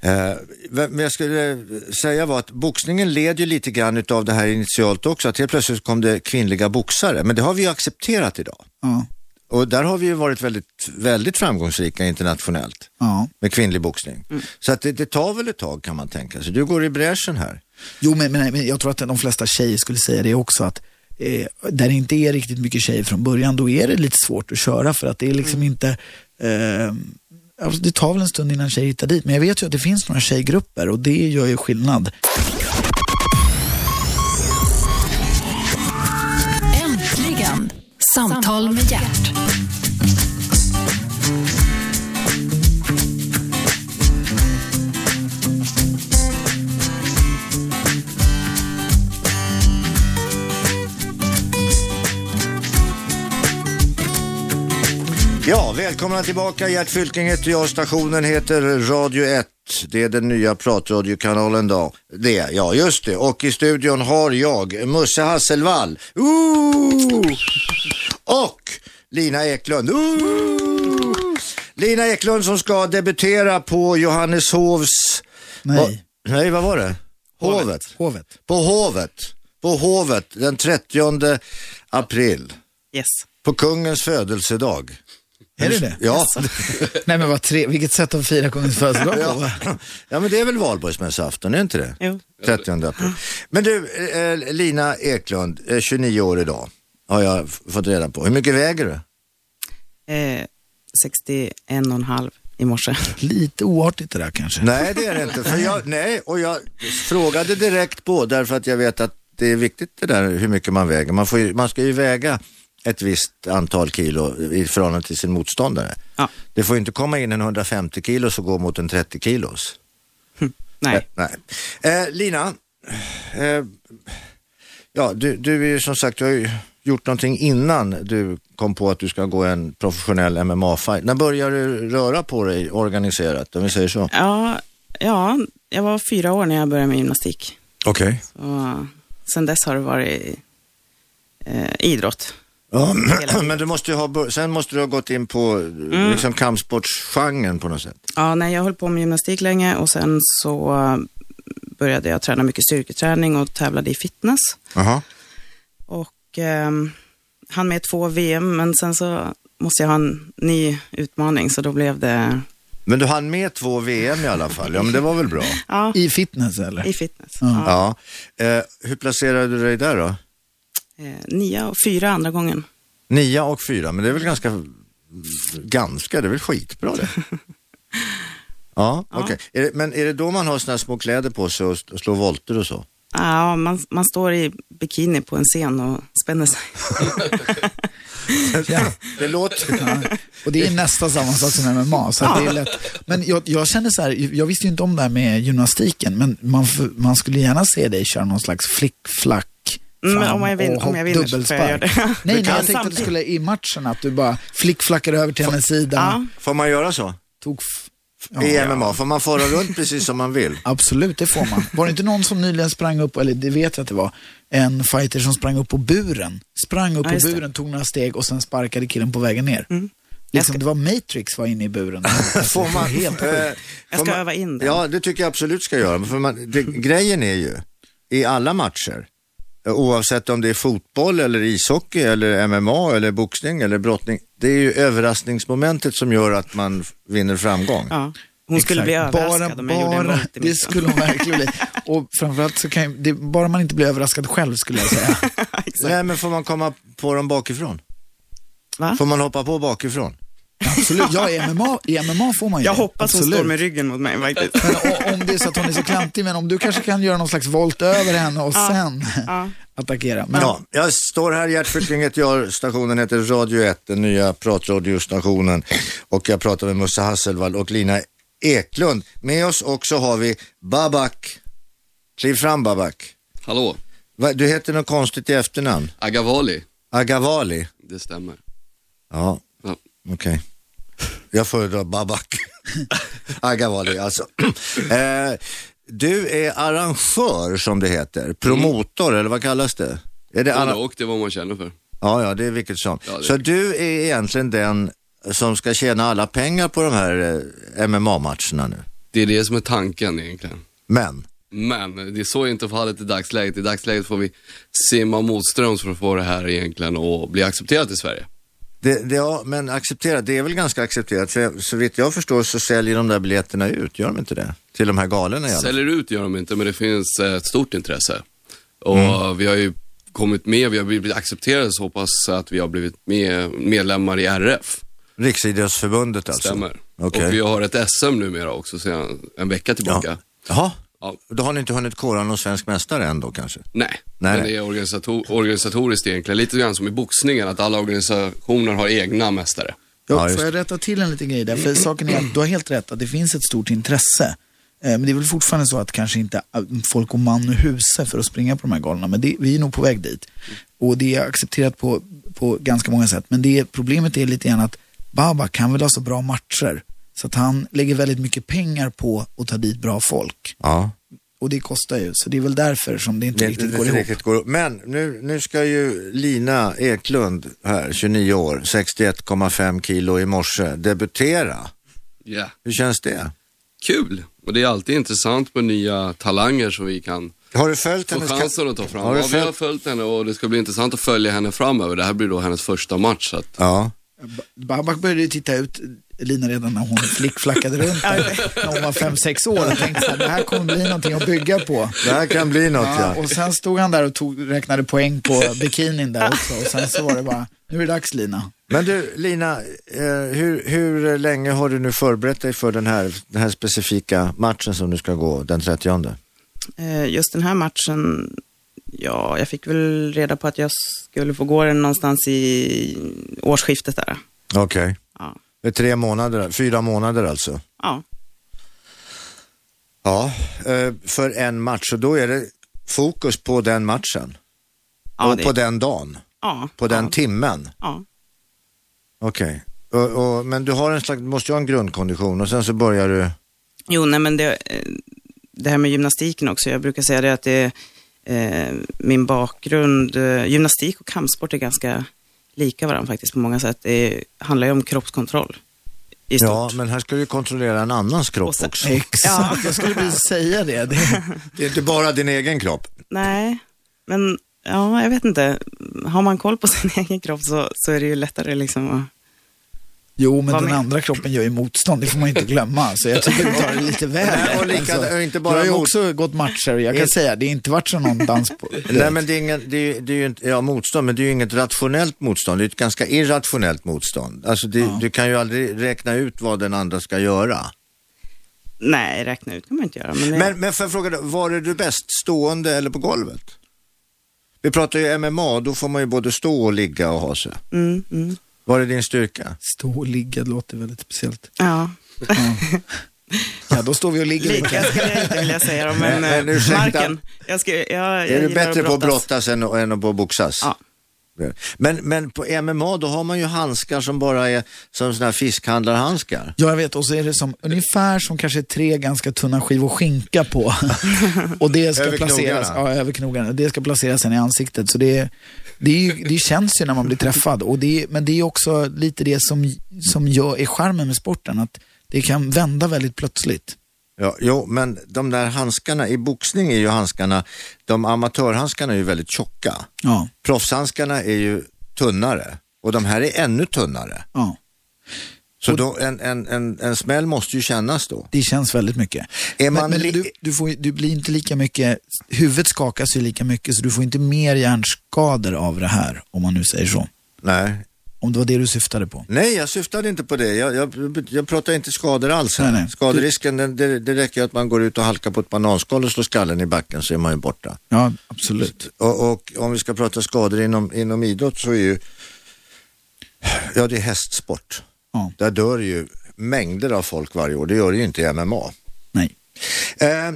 S2: Eh, vem- men jag skulle säga var att boxningen led ju lite grann utav det här initialt också, att helt plötsligt kom det kvinnliga boxare. Men det har vi ju accepterat idag.
S3: Ja,
S2: Och där har vi ju varit väldigt, väldigt framgångsrika internationellt
S3: ja.
S2: med kvinnlig boxning. Så att det, det tar väl ett tag kan man tänka sig. Du går i bräschen här.
S3: Jo, men, men, men jag tror att de flesta tjejer skulle säga det också att eh, där det inte är riktigt mycket tjejer från början, då är det lite svårt att köra för att det är liksom
S2: Mm.
S3: inte eh, Alltså det tar väl en stund innan tjejer hittar dit, men jag vet ju att det finns några tjejgrupper och det gör ju skillnad.
S1: Äntligen! Samtal med hjärt.
S2: Ja, välkomna tillbaka. Gert Fylking heter jag. Stationen heter Radio 1. Det är den nya pratradiokanalen då. Det, ja just det. Och i studion har jag Musse Hasselvall. Ooh! Och Lina Eklund. Ooh! Lina Eklund som ska debutera på Johanneshovs...
S3: Nej.
S2: Va- Nej, vad var det? Hovet.
S3: Hovet.
S2: På Hovet. På Hovet den 30 april.
S4: Yes.
S2: På kungens födelsedag.
S3: Är det det?
S2: Ja.
S3: Nej men vad tre, vilket sätt att fira kungens födelsedag på. va?
S2: Ja. ja, men det är väl valborgsmässoafton, är inte det?
S4: Jo.
S2: 30 april. Men du, eh, Lina Eklund, eh, 29 år idag, har jag f- fått reda på. Hur mycket väger du?
S4: Eh, 61,5 i morse.
S3: Lite oartigt det där kanske.
S2: Nej, det är det inte. För jag, nej, och jag frågade direkt på, därför att jag vet att det är viktigt det där hur mycket man väger. Man, får ju, man ska ju väga ett visst antal kilo i förhållande till sin motståndare.
S4: Ja,
S2: Det får ju inte komma in en 150 kilos och gå mot en 30 kilos.
S4: nej.
S2: Eh, nej. Eh, Lina, eh, ja, du, du är ju som sagt, du har ju gjort någonting innan du kom på att du ska gå en professionell MMA-fight. När började du röra på dig organiserat, om vi säger så?
S4: Ja, ja, jag var fyra år när jag började med gymnastik.
S2: Okej.
S4: Så, sen dess har det varit eh, idrott.
S2: Ja, men du måste ju ha, bör- sen måste du ha gått in på liksom kampsportsgenren på något sätt.
S4: Ja, nej, jag höll på med gymnastik länge och sen så eh, började jag träna mycket styrketräning och tävlade i fitness.
S2: Aha.
S4: Och eh, han med två VM, men sen så måste jag ha en ny utmaning, så då blev det
S2: Men du hann med två VM i alla fall, ja men det var väl bra.
S4: ja,
S3: I fitness eller?
S4: i fitness. Ja.
S2: Ja. Eh, hur placerade du dig där då?
S4: Eh, nia och fyra andra gången.
S2: Nia och fyra, men det är väl ganska, ganska, det är väl skitbra det. Ja, okej. Är det- Men är det då man har såna här små kläder på sig och s- och slår volter och så?
S4: Ja, man, man står i bikini på en scen och spänner sig.
S3: Ja.
S2: Det låter...
S3: Och det är nästan samma sak som MMA. Så att det är lätt. Men jag, jag känner så här, jag visste ju inte om det här med gymnastiken, men man, f- man skulle gärna se dig köra någon slags flickflack.
S4: Mm, men
S3: fram
S4: om jag vinner-
S3: och
S4: om jag
S3: hopp-
S4: vinner så får jag
S3: dubbelspark.
S4: göra det.
S3: Nej, nej, jag tänkte att du
S4: Samtidigt.
S3: skulle i matchen, att du bara flickflackar över till hennes sida.
S4: Ja.
S2: Får man göra så?
S3: Tog f-
S2: I
S3: ja.
S2: MMA? Får man fara runt precis som man vill?
S3: Absolut, det får man. Var det inte någon som nyligen sprang upp, eller det vet jag att det var, en fighter som sprang upp på buren. Sprang upp
S4: Ja,
S3: på
S4: just det. Mm.
S3: buren, tog några steg och sen sparkade killen på vägen ner. Liksom,
S4: ska-
S3: Det var Matrix var inne i buren. Alltså,
S2: Får man,
S3: Helt
S2: eh,
S3: sjukt.
S4: Jag
S2: får
S4: ska
S2: man-
S4: öva in den. Mm.
S2: Ja, det tycker jag absolut ska göra. För man, det, grejen är ju, i alla matcher, eh, oavsett om det är fotboll eller ishockey eller MMA eller boxning eller brottning, det är ju överraskningsmomentet som gör att man f- vinner framgång.
S4: Ja. Hon skulle
S3: Exakt.
S4: bli överraskad om jag gjorde en volt i
S3: Det
S4: mitten.
S3: skulle hon verkligen bli. Och framförallt så kan ju, det, bara man inte blir överraskad själv skulle jag säga.
S2: Nej, men får man komma på dem bakifrån?
S4: Va?
S2: Får man hoppa på bakifrån?
S3: Absolut, ja i MMA, i MMA får man ju
S4: Jag
S3: det.
S4: hoppas hon
S3: Absolut.
S4: står med ryggen mot mig faktiskt.
S3: Men o- om det är så att hon är så klantig, men om du kanske kan göra någon slags volt över henne och sen
S4: ja.
S3: attackera. Men,
S2: Ja, jag står här, Gert Fylking heter jag. Stationen heter Radio 1, den nya pratradiostationen. Och jag pratar med Musse Hasselvall och Lina Eklund. Med oss också har vi Babak. Kliv fram Babak.
S5: Hallå,
S2: Va, Du heter något konstigt i efternamn.
S5: Agavali,
S2: Agavali.
S5: det stämmer.
S2: Ja,
S5: Ja.
S2: okej. Jag föredrar Babak. Agavali alltså. eh, du är arrangör som det heter. Promotor eller vad kallas det? Är det
S5: Både
S2: arra-
S5: och, det är vad man känner för.
S2: Ja, ja, det är vilket som.
S5: Ja, det är
S2: så du är egentligen den som ska tjäna alla pengar på de här eh, MMA-matcherna nu.
S5: Det är det som är tanken egentligen.
S2: Men,
S5: Men det är så inte fallet i dagsläget. I dagsläget får vi simma motströms för att få det här egentligen och bli accepterat i Sverige.
S2: det, det, ja, men accepterat, det är väl ganska accepterat. För jag- så vitt jag förstår så säljer de där biljetterna ut, gör de inte det? Till de här galorna i alla fall.
S5: Säljer ut gör de inte, men det finns eh, ett stort intresse. Och
S2: Mm.
S5: vi har ju kommit med, vi har blivit accepterade så pass att vi har blivit med, medlemmar i RF.
S2: Riksidrottsförbundet alltså?
S5: Stämmer.
S2: Okej.
S5: Och vi har ett SM numera också sedan en vecka tillbaka.
S2: Ja. Jaha,
S5: Ja.
S2: då har ni inte hunnit kora någon svensk mästare än då kanske?
S5: Nej,
S2: Nej,
S5: men
S2: nej.
S5: det är organisator- organisatoriskt egentligen. Lite grann som i boxningen, att alla organisationer har egna mästare.
S2: Ja,
S3: Ja,
S2: just
S3: får jag rätta till en liten grej där? För saken är att du har helt rätt att det finns ett stort intresse. Eh, Men det är väl fortfarande så att kanske inte eh, folk går man ur huse för att springa på de här galorna. Men det, vi är nog på väg dit. Och det är accepterat på, på ganska många sätt. Men det, problemet är lite grann att Baba kan väl ha så bra matcher. Så att han lägger väldigt mycket pengar på att ta dit bra folk.
S2: Ja.
S3: Och det kostar ju. Så det är väl därför som det inte
S2: Det,
S3: riktigt
S2: det,
S3: går
S2: det,
S3: ihop.
S2: riktigt går ihop. Men nu, nu ska ju Lina Eklund här, 29 år, 61,5 kilo i morse, debutera.
S5: Ja,
S2: Hur känns det?
S5: kul! Och det är alltid intressant med nya talanger som vi kan
S2: Har du följt
S5: få
S2: hennes
S5: chansen att ta fram.
S2: Har du
S5: Ja, vi har
S2: följt...
S5: följt henne och det ska bli intressant att följa henne framöver. Det här blir då hennes första match. Så att...
S2: Ja.
S3: Babak började ju titta ut Lina redan när hon flickflackade runt där, när hon var fem sex år och tänkte så här, det här kommer bli någonting att bygga på.
S2: Det här kan bli något
S3: Ja,
S2: ja.
S3: och sen stod han där och tog, räknade poäng på bikinin där också och sen så var det bara, nu är det dags Lina.
S2: Men du Lina, eh, hur, hur länge har du nu förberett dig för den här, den här specifika matchen som du ska gå den 30?
S4: Eh, Just den här matchen, ja, jag fick väl reda på att jag skulle få gå den någonstans i årsskiftet där.
S2: Okej.
S4: Ja.
S2: Det är tre månader, fyra månader alltså?
S4: ja.
S2: Ja, eh, för en match och då är det fokus på den matchen
S4: Ja,
S2: och
S4: det-
S2: på den dagen,
S4: Ja.
S2: på den
S4: ja,
S2: timmen.
S4: ja.
S2: Okej, Och- och- men du har en slags, du måste ju ha en grundkondition och sen så börjar du,
S4: Jo, nej men det, eh, det här med gymnastiken också. Jag brukar säga det att det är eh, min bakgrund. Eh, gymnastik och kampsport är ganska lika varandra faktiskt på många sätt. Det handlar ju om kroppskontroll i stort.
S2: ja men här ska du ju kontrollera en annans kropp
S4: Och sen-
S2: också.
S3: Exakt, jag skulle precis säga det. det
S2: Det är inte bara din egen kropp.
S4: Nej, men ja, jag vet inte. Har man koll på sin egen kropp så, så är det ju lättare liksom att...
S3: jo, men
S4: Vad
S3: den
S4: men-
S3: andra kroppen gör ju motstånd, det får man ju inte glömma. Så jag tycker du tar det lite väl Alltså,
S2: Nej, och lika- och inte bara
S3: Jag har ju
S2: mot-
S3: också gått matcher och jag kan säga, det har inte varit så någon dans på.
S2: Nej men det är, ingen, det är, ju- det är ju inte, ja motstånd, men det är ju inget rationellt motstånd, det är ett ganska irrationellt motstånd. Alltså det, du kan ju aldrig räkna ut vad den andra ska göra.
S4: Nej, räkna ut kan man inte göra. Men, det,
S2: Men, men får jag fråga dig, var är du bäst? Stående eller på golvet? Vi pratar ju MMA, då får man ju både stå och ligga och ha sig.
S4: Mm, mm,
S2: Var är din styrka?
S3: Stå och ligga låter väldigt speciellt.
S4: ja.
S3: Ja, då står vi och ligger lite.
S4: Lika skulle jag inte vilja säga då,
S2: Men-
S4: men,
S2: men
S4: eh,
S2: ursäkta.
S4: marken. Jag ska, jag, jag
S2: är du
S4: gillar
S2: bättre
S4: att
S2: på att
S4: brottas.
S2: brottas än, än på att boxas?
S4: Ja.
S2: Men, men på MMA då har man ju handskar som bara är som sådana här fiskhandlarhandskar.
S3: Ja, jag vet. Och så är det som, ungefär som kanske tre ganska tunna skivor skinka på. och det ska
S2: Över
S3: placeras
S2: knogarna.
S3: ja, över knogarna. Det ska placeras sen i ansiktet. Så det, det, är ju, det känns ju när man blir träffad. Och det, men det är också lite det som, som gör, är charmen med sporten. Att det kan vända väldigt plötsligt.
S2: Ja, jo, men de där handskarna, i boxning är ju handskarna, de amatörhandskarna är ju väldigt tjocka.
S3: Ja,
S2: Proffshandskarna är ju tunnare och de här är ännu tunnare.
S3: ja.
S2: Så då, en, en, en, en smäll måste ju kännas då.
S3: Det känns väldigt mycket.
S2: Är
S3: men
S2: man
S3: men
S2: li-
S3: du, du, får, ju- du blir inte lika mycket, huvudet skakas ju lika mycket så du får inte mer hjärnskador av det här, om man nu säger så.
S2: Nej,
S3: Om det var det du syftade på.
S2: Nej jag syftade inte på det. Jag, jag, jag pratar inte skador alls. Här.
S3: Nej, nej.
S2: Skaderisken, den, det, det räcker ju att man går ut och halkar på ett bananskal och slår skallen i backen så är man ju borta.
S3: Ja, absolut.
S2: Och, och om vi ska prata skador inom, inom idrott så är ju, ja det är hästsport.
S3: Ja,
S2: Där dör ju mängder av folk varje år. Det gör det ju inte i MMA.
S3: nej.
S2: Eh,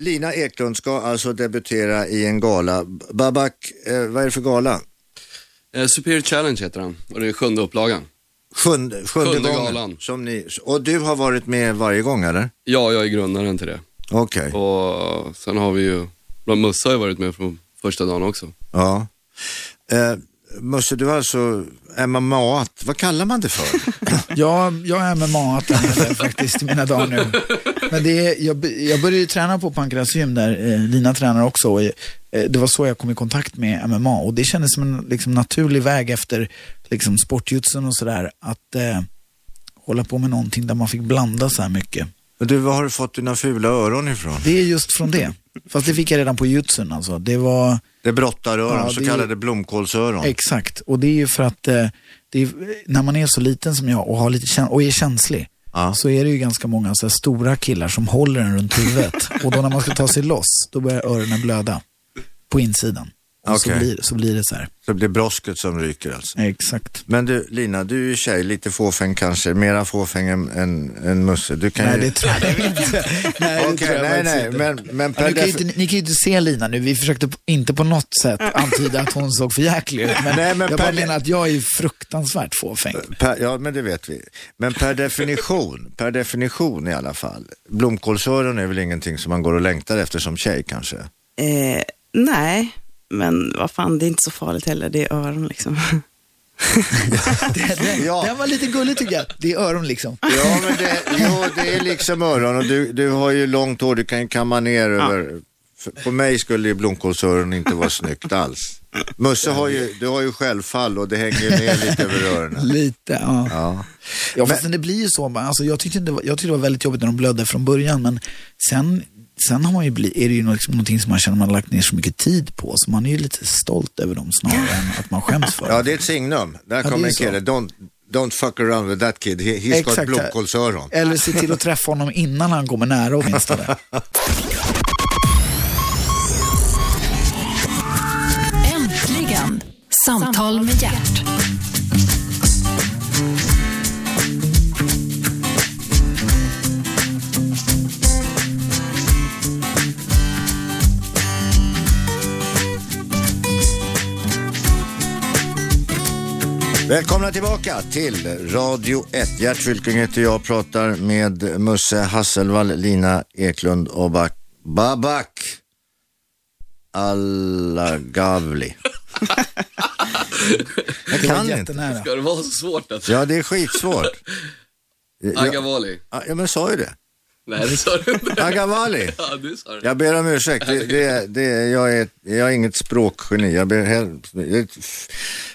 S2: Lina Eklund ska alltså debutera i en gala. Babak, eh, vad är det för gala?
S5: Eh, Superior Challenge heter han och det är sjunde upplagan.
S2: Sjunde, sjunde,
S5: Sjunde
S2: gången.
S5: galan.
S2: Som ni, och du har varit med varje gång eller?
S5: Ja, jag är grundaren till det.
S2: Okej,
S5: Och sen har vi ju, bland Mussa har ju varit med från första dagen också.
S2: ja. Eh, Musse, du har alltså MMA, -at. vad kallar man det för?
S3: Jag, jag är mma -attan faktiskt i mina dagar nu. Men det är, jag, b- jag började ju träna på Pankrads gym där eh, Lina tränar också. Och, eh, det var så jag kom i kontakt med MMA och det kändes som en liksom, naturlig väg efter liksom, sportjutsen och sådär. Att eh, hålla på med någonting där man fick blanda så här mycket.
S2: du, var har du fått dina fula öron ifrån?
S3: Det är just från det. Fast det fick jag redan på jutsen alltså. Det var...
S2: Det är brottaröron,
S3: Ja, det
S2: så
S3: är-
S2: kallade blomkålsöron.
S3: Exakt, och det är ju för att eh, det är, när man är så liten som jag och, har lite käns- och är känslig
S2: Ja.
S3: så är det ju ganska många så här stora killar som håller den runt huvudet. och då när man ska ta sig loss, då börjar öronen blöda på insidan. Och
S2: Okej.
S3: så, blir, så blir det så här.
S2: Så det blir brosket som ryker alltså.
S3: Exakt.
S2: Men du, Lina, du är ju tjej, lite fåfäng kanske, mera fåfäng än, än, än Musse. Du kan
S3: Nej,
S2: ju...
S3: det tror jag inte. nej, det
S2: Okej,
S3: tror jag
S2: nej,
S3: faktiskt
S2: nej,
S3: inte.
S2: men, men
S3: Ja,
S2: per
S3: du kan ju
S2: definition...
S3: inte, ni kan ju inte se Lina nu, vi försökte p- inte på något sätt antyda att hon såg för jäklig ut. Men,
S2: Nej, men
S3: jag bara
S2: per-
S3: menar att jag är ju fruktansvärt fåfäng.
S2: Per, ja, men det vet vi. Men per definition, per definition i alla fall. Blomkålsöron är väl ingenting som man går och längtar efter som tjej kanske?
S4: Eh, nej, men vad fan, det är inte så farligt heller. Det är öron liksom.
S3: Den,
S2: Ja.
S3: den var lite gullig tycker jag. Det är öron liksom.
S2: Ja, men det, jo, det är liksom öron och du, du har ju långt hår, du kan ju kamma ner över. För, på mig skulle ju blomkålsöron inte vara snyggt alls. Musse har ju, du har ju självfall och det hänger ju ner lite över öronen.
S3: Lite, ja.
S2: Ja.
S3: ja fast det blir ju så. bara. Alltså, jag, tyckte inte, det var- jag tyckte det var väldigt jobbigt när de blödde från början, men sen, sen har man ju bli, är det ju liksom någonting som man känner man har lagt ner så mycket tid på, så man är ju lite stolt över dem snarare än att man skäms för
S2: ja,
S3: dem.
S2: det är ett signum. Där
S3: det
S2: kommer
S3: är
S2: en
S3: så.
S2: kille. Don't, don't fuck around with that kid. He, he's got blomkålsöron.
S3: Eller se till att träffa honom innan han kommer nära åtminstone.
S1: Äntligen! Samtal med hjärt.
S2: Välkomna tillbaka till Radio 1. Gert Fylking heter jag pratar med Musse Hasselvall, Lina Eklund och Bak Babak Alagavli. Jag
S3: Det var
S2: kan inte.
S3: jättenära.
S5: Ska det vara så svårt alltså?
S2: Ja, det är skitsvårt. Jag,
S5: Agavali?
S2: ja, men jag sa ju det.
S5: Nej, det sa du inte.
S2: Agavali.
S5: Ja, du sa det.
S2: Jag ber om ursäkt. Det, det, det, jag, är, jag är inget språkgeni. Jag ber hel- det är ett f-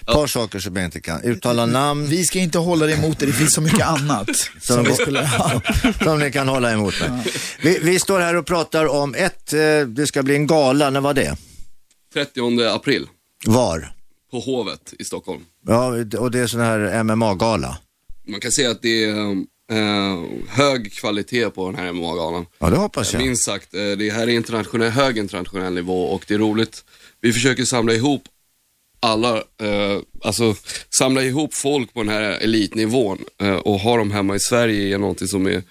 S2: par saker som jag inte kan. Uttala namn.
S3: Vi ska inte hålla det emot det, det finns så mycket annat som vi skulle ha.
S2: som ni kan hålla emot mig. Vi, vi står här och pratar om ett, eh, det ska bli en gala, när var det?
S5: 30 april
S2: Var?
S5: på Hovet i Stockholm.
S2: Ja, och det är sån här MMA-gala.
S5: Man kan säga att det är eh, hög kvalitet på den här MMA-galan.
S2: Ja, det hoppas jag.
S5: Minst sagt, eh, det här är internationell, hög internationell nivå och det är roligt. Vi försöker samla ihop alla, eh, alltså samla ihop folk på den här elitnivån eh, och ha dem hemma i Sverige är någonting som är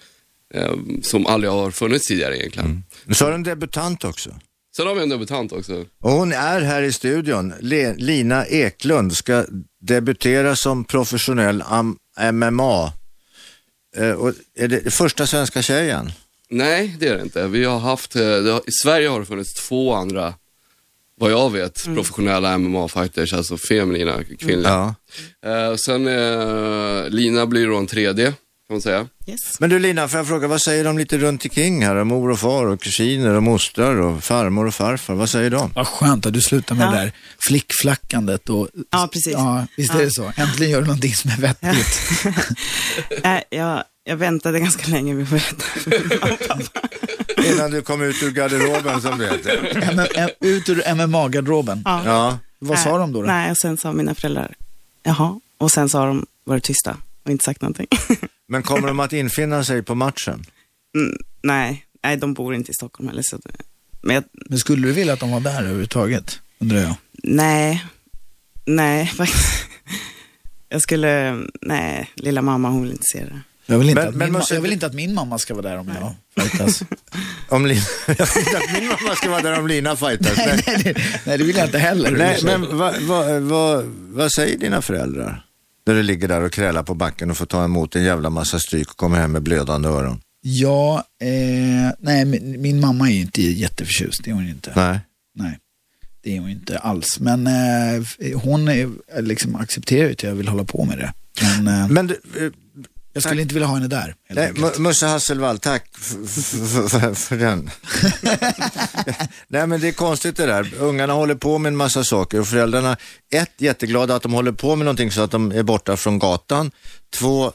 S5: eh, som aldrig har funnits tidigare egentligen.
S2: Så är det en debutant också.
S5: Sen har vi en debutant också.
S2: Och hon är här i studion. Le- Lina Eklund ska debutera som professionell am- MMA. Eh, och är det första svenska tjejen?
S5: Nej, det är det inte. Vi har haft, eh, det har, I Sverige har det funnits två andra, vad jag vet, professionella MMA-fighters, alltså feminina, kvinnliga.
S2: Ja.
S5: Eh, sen eh, Lina blir då en 3D, kan man säga.
S4: Yes.
S2: Men du Lina, får jag fråga, vad säger de lite runt omkring här? Om mor och far och kusiner och mostrar och farmor och farfar, vad säger de?
S3: Vad skönt att du slutar med
S4: Ja.
S3: det där flickflackandet. Och,
S4: Ja, precis.
S3: Ja, visst är det så. Äntligen gör du någonting som är vettigt.
S4: Äh, jag, jag väntade ganska länge med att berätta.
S2: Innan du kom ut ur garderoben som det heter.
S3: M- M- ut ur MMA-garderoben.
S4: Ja.
S2: Ja.
S3: Vad sa
S4: Nej,
S3: de då? då?
S4: Äh, Nej, och sen sa mina föräldrar, jaha. Och sen sa de, varit tysta och inte sagt någonting.
S2: Men kommer de att infinna sig på matchen?
S4: mm, nej, nej, de bor inte i Stockholm heller. Så det, men jag,
S3: Men skulle du vilja att de var där överhuvudtaget? Undrar jag.
S4: nej, nej faktiskt. Jag skulle, nej, lilla mamma hon vill inte se det.
S3: Jag vill inte,
S2: Men-
S3: att,
S2: men
S3: min
S2: måste-
S3: ma- jag vill inte att min mamma ska vara där om jag fightas.
S2: Om Lina... Jag vill inte att min mamma ska vara där om Lina fightas. Nej.
S3: nej, det, nej, det vill jag inte heller.
S2: Nej, men vad va, va, vad säger dina föräldrar? När du ligger där och krälar på backen och får ta emot en jävla massa stryk och kommer hem med blödande öron.
S3: Ja, eh, nej, min, min mamma är ju inte jätteförtjust, det är hon inte.
S2: Nej.
S3: Nej, det är hon inte alls. Men eh, f- hon är, liksom accepterar ju att jag vill hålla på med det. Men, eh,
S2: Men du, eh,
S3: jag skulle inte vilja ha henne där. helt
S2: nej,
S3: enkelt.
S2: Mu- Musse Hasselvall, tack f- f- f- för den. nej men det är konstigt det där. Ungarna håller på med en massa saker och föräldrarna, ett, jätteglada att de håller på med någonting så att de är borta från gatan. Två,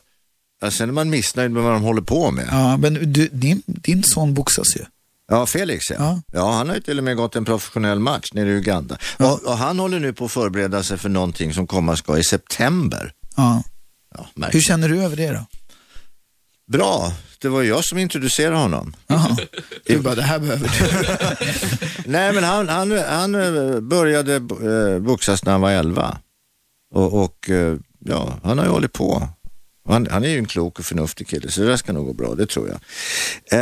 S2: ja, sen är man missnöjd med vad de håller på med.
S3: Ja, men du, din, din son boxas ju.
S2: Ja, Felix ja. ja.
S3: Ja.
S2: han har ju till och med gått en professionell match nere i Uganda. Och, och han håller nu på att förbereda sig för någonting som komma ska i september.
S3: Ja.
S2: Ja,
S3: Hur
S2: märkligt.
S3: känner du över det då?
S2: Bra, det var ju jag som introducerade honom.
S3: Jaha. Du bara, det här behöver du.
S2: Nej, men han, han, han eh, började eh, boxas när han var 11. Och, och eh, ja, han har ju hållit på. Och Han, han är ju en klok och förnuftig kille, så det där ska nog gå bra, det tror jag.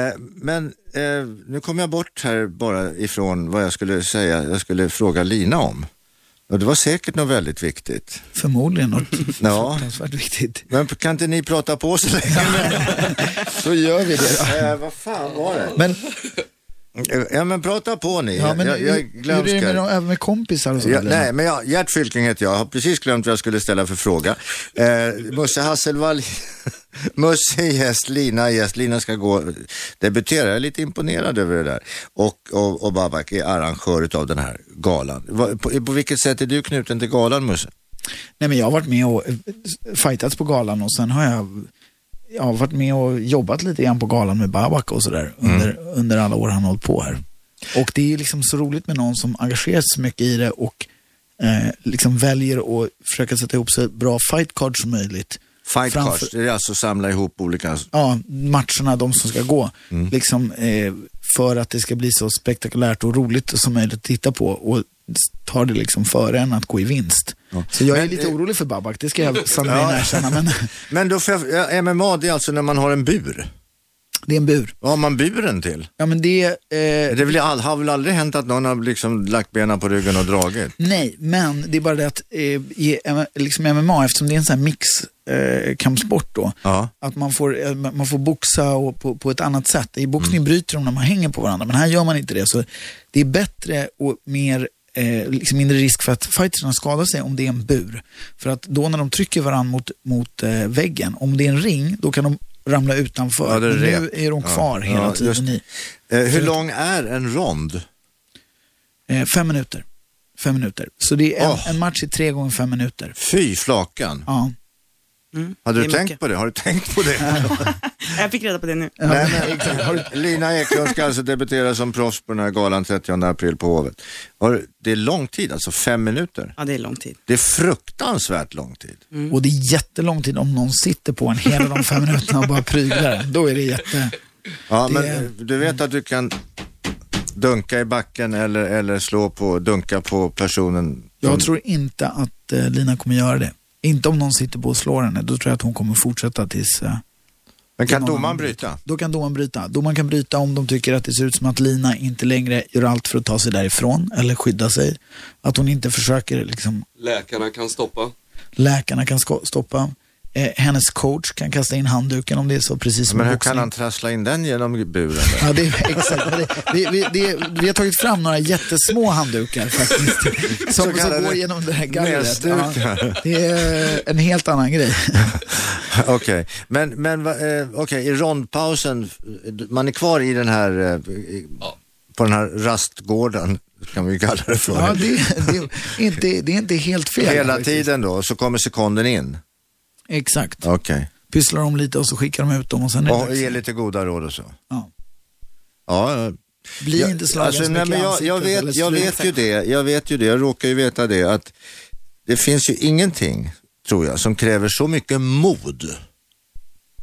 S2: Eh, men eh, nu kom jag bort här bara ifrån vad jag skulle säga, jag skulle fråga Lina om. Och det var säkert något väldigt viktigt.
S3: Förmodligen något
S2: Ja.
S3: fruktansvärt viktigt.
S2: Men kan inte ni prata på så länge?
S3: Så gör vi det
S2: eh, vad fan var det?
S3: Men,
S2: Eh, Ja, men prata på ni.
S3: ja, men
S2: jag, jag
S3: hur är det
S2: glömskar.
S3: med, de- även med kompisar och sådär?
S2: Ja, nej, men jag, Gert Fylking heter jag. Jag har precis glömt vad jag skulle ställa för fråga. Eh, Musse Hasselvall, Musse är gäst, Lina är gäst. Lina ska gå debutera. Jag är lite imponerad över det där. Och, och, och Babak är arrangör av den här galan. Va, på, på vilket sätt är du knuten till galan, Musse?
S3: Nej, men jag har varit med och eh, fightats på galan och sen har jag, jag har varit med och jobbat lite grann på galan med Babak och sådär
S2: Mm.
S3: under, under alla år han har hållit på här. Och det är liksom så roligt med någon som engagerar sig så mycket i det och eh, liksom väljer att försöka sätta ihop så bra fight cards som möjligt.
S2: Fight
S3: Framför-
S2: cards, det är alltså samla ihop olika...
S3: Ja, matcherna, de som ska gå.
S2: Mm.
S3: Liksom, eh, för att det ska bli så spektakulärt och roligt som möjligt att titta på. Och tar det liksom före än att gå i vinst. Så jag är
S2: Men,
S3: lite
S2: eh,
S3: orolig för Babak, det ska jag sannolikt erkänna. Men
S2: Men då får jag, ja, MMA, det är alltså när man har en bur.
S3: det är en bur.
S2: Vad har man buren till?
S3: Ja, men det, eh,
S2: Det väl, all- har väl aldrig hänt att någon har liksom lagt benen på ryggen och dragit?
S3: nej, men det är bara det att eh, i M- liksom MMA, eftersom det är en sån här mix eh, kampsport då,
S2: Ja.
S3: att man får, eh, man man får boxa och på, på ett annat sätt. I
S2: Mm.
S3: boxning bryter de när man hänger på varandra, men här gör man inte det. Så det är bättre och mer Eh, liksom mindre risk för att fighterna skadar sig om det är en bur. För att då när de trycker varandra mot, mot eh, väggen, om det är en ring, då kan de ramla utanför.
S2: Ja, det är
S3: Men nu
S2: rep.
S3: är de
S2: Ja.
S3: kvar hela
S2: Ja, just
S3: tiden
S2: det.
S3: i.
S2: Eh, hur lång är en rond?
S3: Eh, fem minuter. Fem minuter. Så det är en,
S2: Åh.
S3: en match i tre gånger fem minuter.
S2: Fy flakan.
S3: Ja.
S4: Mm,
S2: Hade
S4: det
S2: du
S4: är
S2: tänkt
S4: mycket.
S2: på det? Har du tänkt på det?
S4: Jag fick reda på det nu.
S2: Nej, men, har du- Lina Eklund ska alltså debutera som proffs på den här galan 30 april på Hovet. Har du- Det är lång tid, alltså fem minuter.
S4: Ja, det är lång tid.
S2: Det är fruktansvärt lång tid.
S3: Och det är jättelång tid om någon sitter på en hela de fem minuterna och bara pryglar den. Då är det jätte...
S2: Ja,
S3: Det-
S2: men eh, du vet att du kan dunka i backen eller, eller slå på, dunka på personen. Mm.
S3: Jag tror inte att eh, Lina kommer göra det. Inte om någon sitter på och slår henne. Då tror jag att hon kommer fortsätta tills... Eh,
S2: Men kan
S3: någon
S2: domaren
S3: annan
S2: bryta?
S3: Då kan domaren bryta. Domaren kan bryta om de tycker att det ser ut som att Lina inte längre gör allt för att ta sig därifrån eller skydda sig. Att hon inte försöker, liksom,
S5: Läkarna kan stoppa.
S3: läkarna kan sko- stoppa. Eh, hennes coach kan kasta in handduken om det är så, precis som
S2: Men
S3: i
S2: hur
S3: boxning.
S2: kan han trassla in den genom buren? där?
S3: Ja, det är, exakt. Det, vi, vi, det, vi har tagit fram några jättesmå handdukar faktiskt. Som,
S2: kallade
S3: som går genom det här gallret.
S2: näsdukar.
S3: det är en helt annan grej.
S2: Okej, men, men va- eh, okej, i rondpausen, man är kvar i den här, eh, i, på den här rastgården, kan vi ju kalla det för.
S3: Ja, det, det, är inte, det är inte helt fel.
S2: Hela
S3: faktiskt.
S2: tiden då, så kommer sekunden in.
S3: Exakt.
S2: Okej,
S3: Pysslar om lite och så skickar de ut dem och sen är det
S2: och
S3: dags.
S2: ge lite goda råd och så.
S3: ja.
S2: Ja,
S3: Bli
S2: Jag-
S3: inte slagen så
S2: nej,
S3: mycket
S2: men
S3: i
S2: jag,
S3: ansiktet
S2: jag, vet,
S3: eller
S2: jag
S3: slut.
S2: vet ju det, jag vet ju det, jag råkar ju veta det att det finns ju ingenting, tror jag, som kräver så mycket mod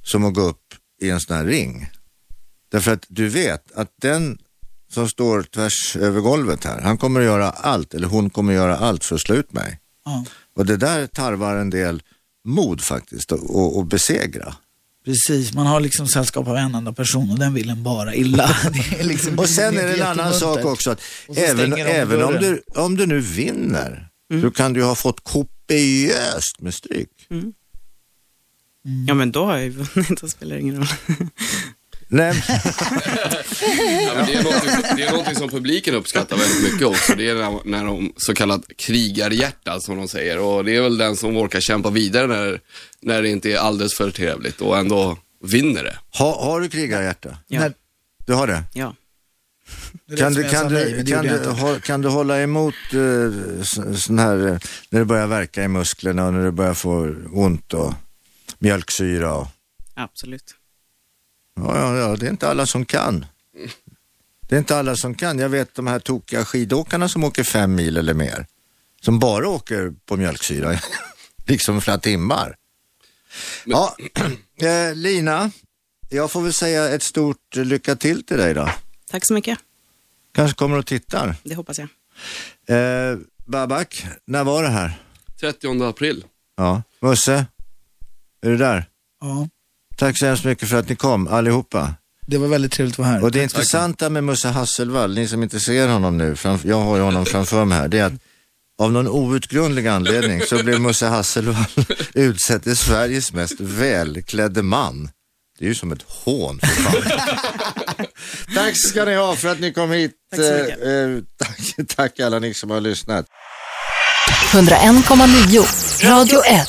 S2: som att gå upp i en sån här ring. Därför att du vet att den som står tvärs över golvet här, han kommer att göra allt, eller hon kommer att göra allt för att slå ut mig.
S3: Ja,
S2: Och det där tarvar en del mod faktiskt, att- att att besegra.
S3: precis, man har liksom sällskap av en enda person och den vill en bara illa. Det är liksom
S2: Och sen
S3: det
S2: är det en annan
S3: jättemuntert.
S2: sak också att
S3: Och så
S2: även,
S3: stänger de
S2: även om,
S3: dörren. Mm.
S2: du, om du nu vinner så kan du ju ha fått kopiöst med stryk.
S4: Ja, men då har jag ju vunnit, då spelar det ingen roll.
S2: Nej,
S5: Ja, men det, är någonting, det är någonting som publiken uppskattar väldigt mycket också. Det är när, när de så kallat krigarhjärta som de säger. Och det är väl den som orkar kämpa vidare när, när det inte är alldeles för trevligt och ändå vinner det.
S2: ha, har du krigarhjärta?
S4: Ja.
S3: När-
S2: Du har det?
S4: Ja.
S3: Det är
S2: Kan
S3: därför
S2: du,
S3: jag
S2: kan,
S3: sa nej,
S2: du,
S3: men det
S2: kan,
S3: gjorde jag
S2: du,
S3: inte.
S2: ha, kan du hålla emot eh, s- sån här, eh, när det börjar verka i musklerna och när det börjar få ont och mjölksyra? Och,
S4: Absolut.
S2: ja, ja, ja, det är inte alla som kan. Det är inte alla som kan. Jag vet de här tokiga skidåkarna som åker fem mil eller mer. Som bara åker på mjölksyra, liksom flera timmar. Ja, eh, Lina, jag får väl säga ett stort lycka till till dig då.
S4: Tack så mycket.
S2: Kanske kommer och tittar.
S4: Det hoppas jag.
S2: Eh, Babak, när var det här?
S5: 30 april.
S2: Ja. Musse, är du där?
S3: Ja,
S2: Tack så hemskt mycket för att ni kom allihopa.
S3: det var väldigt trevligt att vara här.
S2: Och det intressanta med Musse Hasselvall, ni som inte ser honom nu, framf- jag har ju honom framför mig här, det är att av någon outgrundlig anledning så blev Musse Hasselvall utsedd till Sveriges mest välklädde man. Det är ju som ett hån för fan. tack ska ni ha för att ni kom hit.
S4: Tack så mycket.
S2: Eh, eh, tack, tack alla ni som har lyssnat.
S1: 101,9. Radio 1.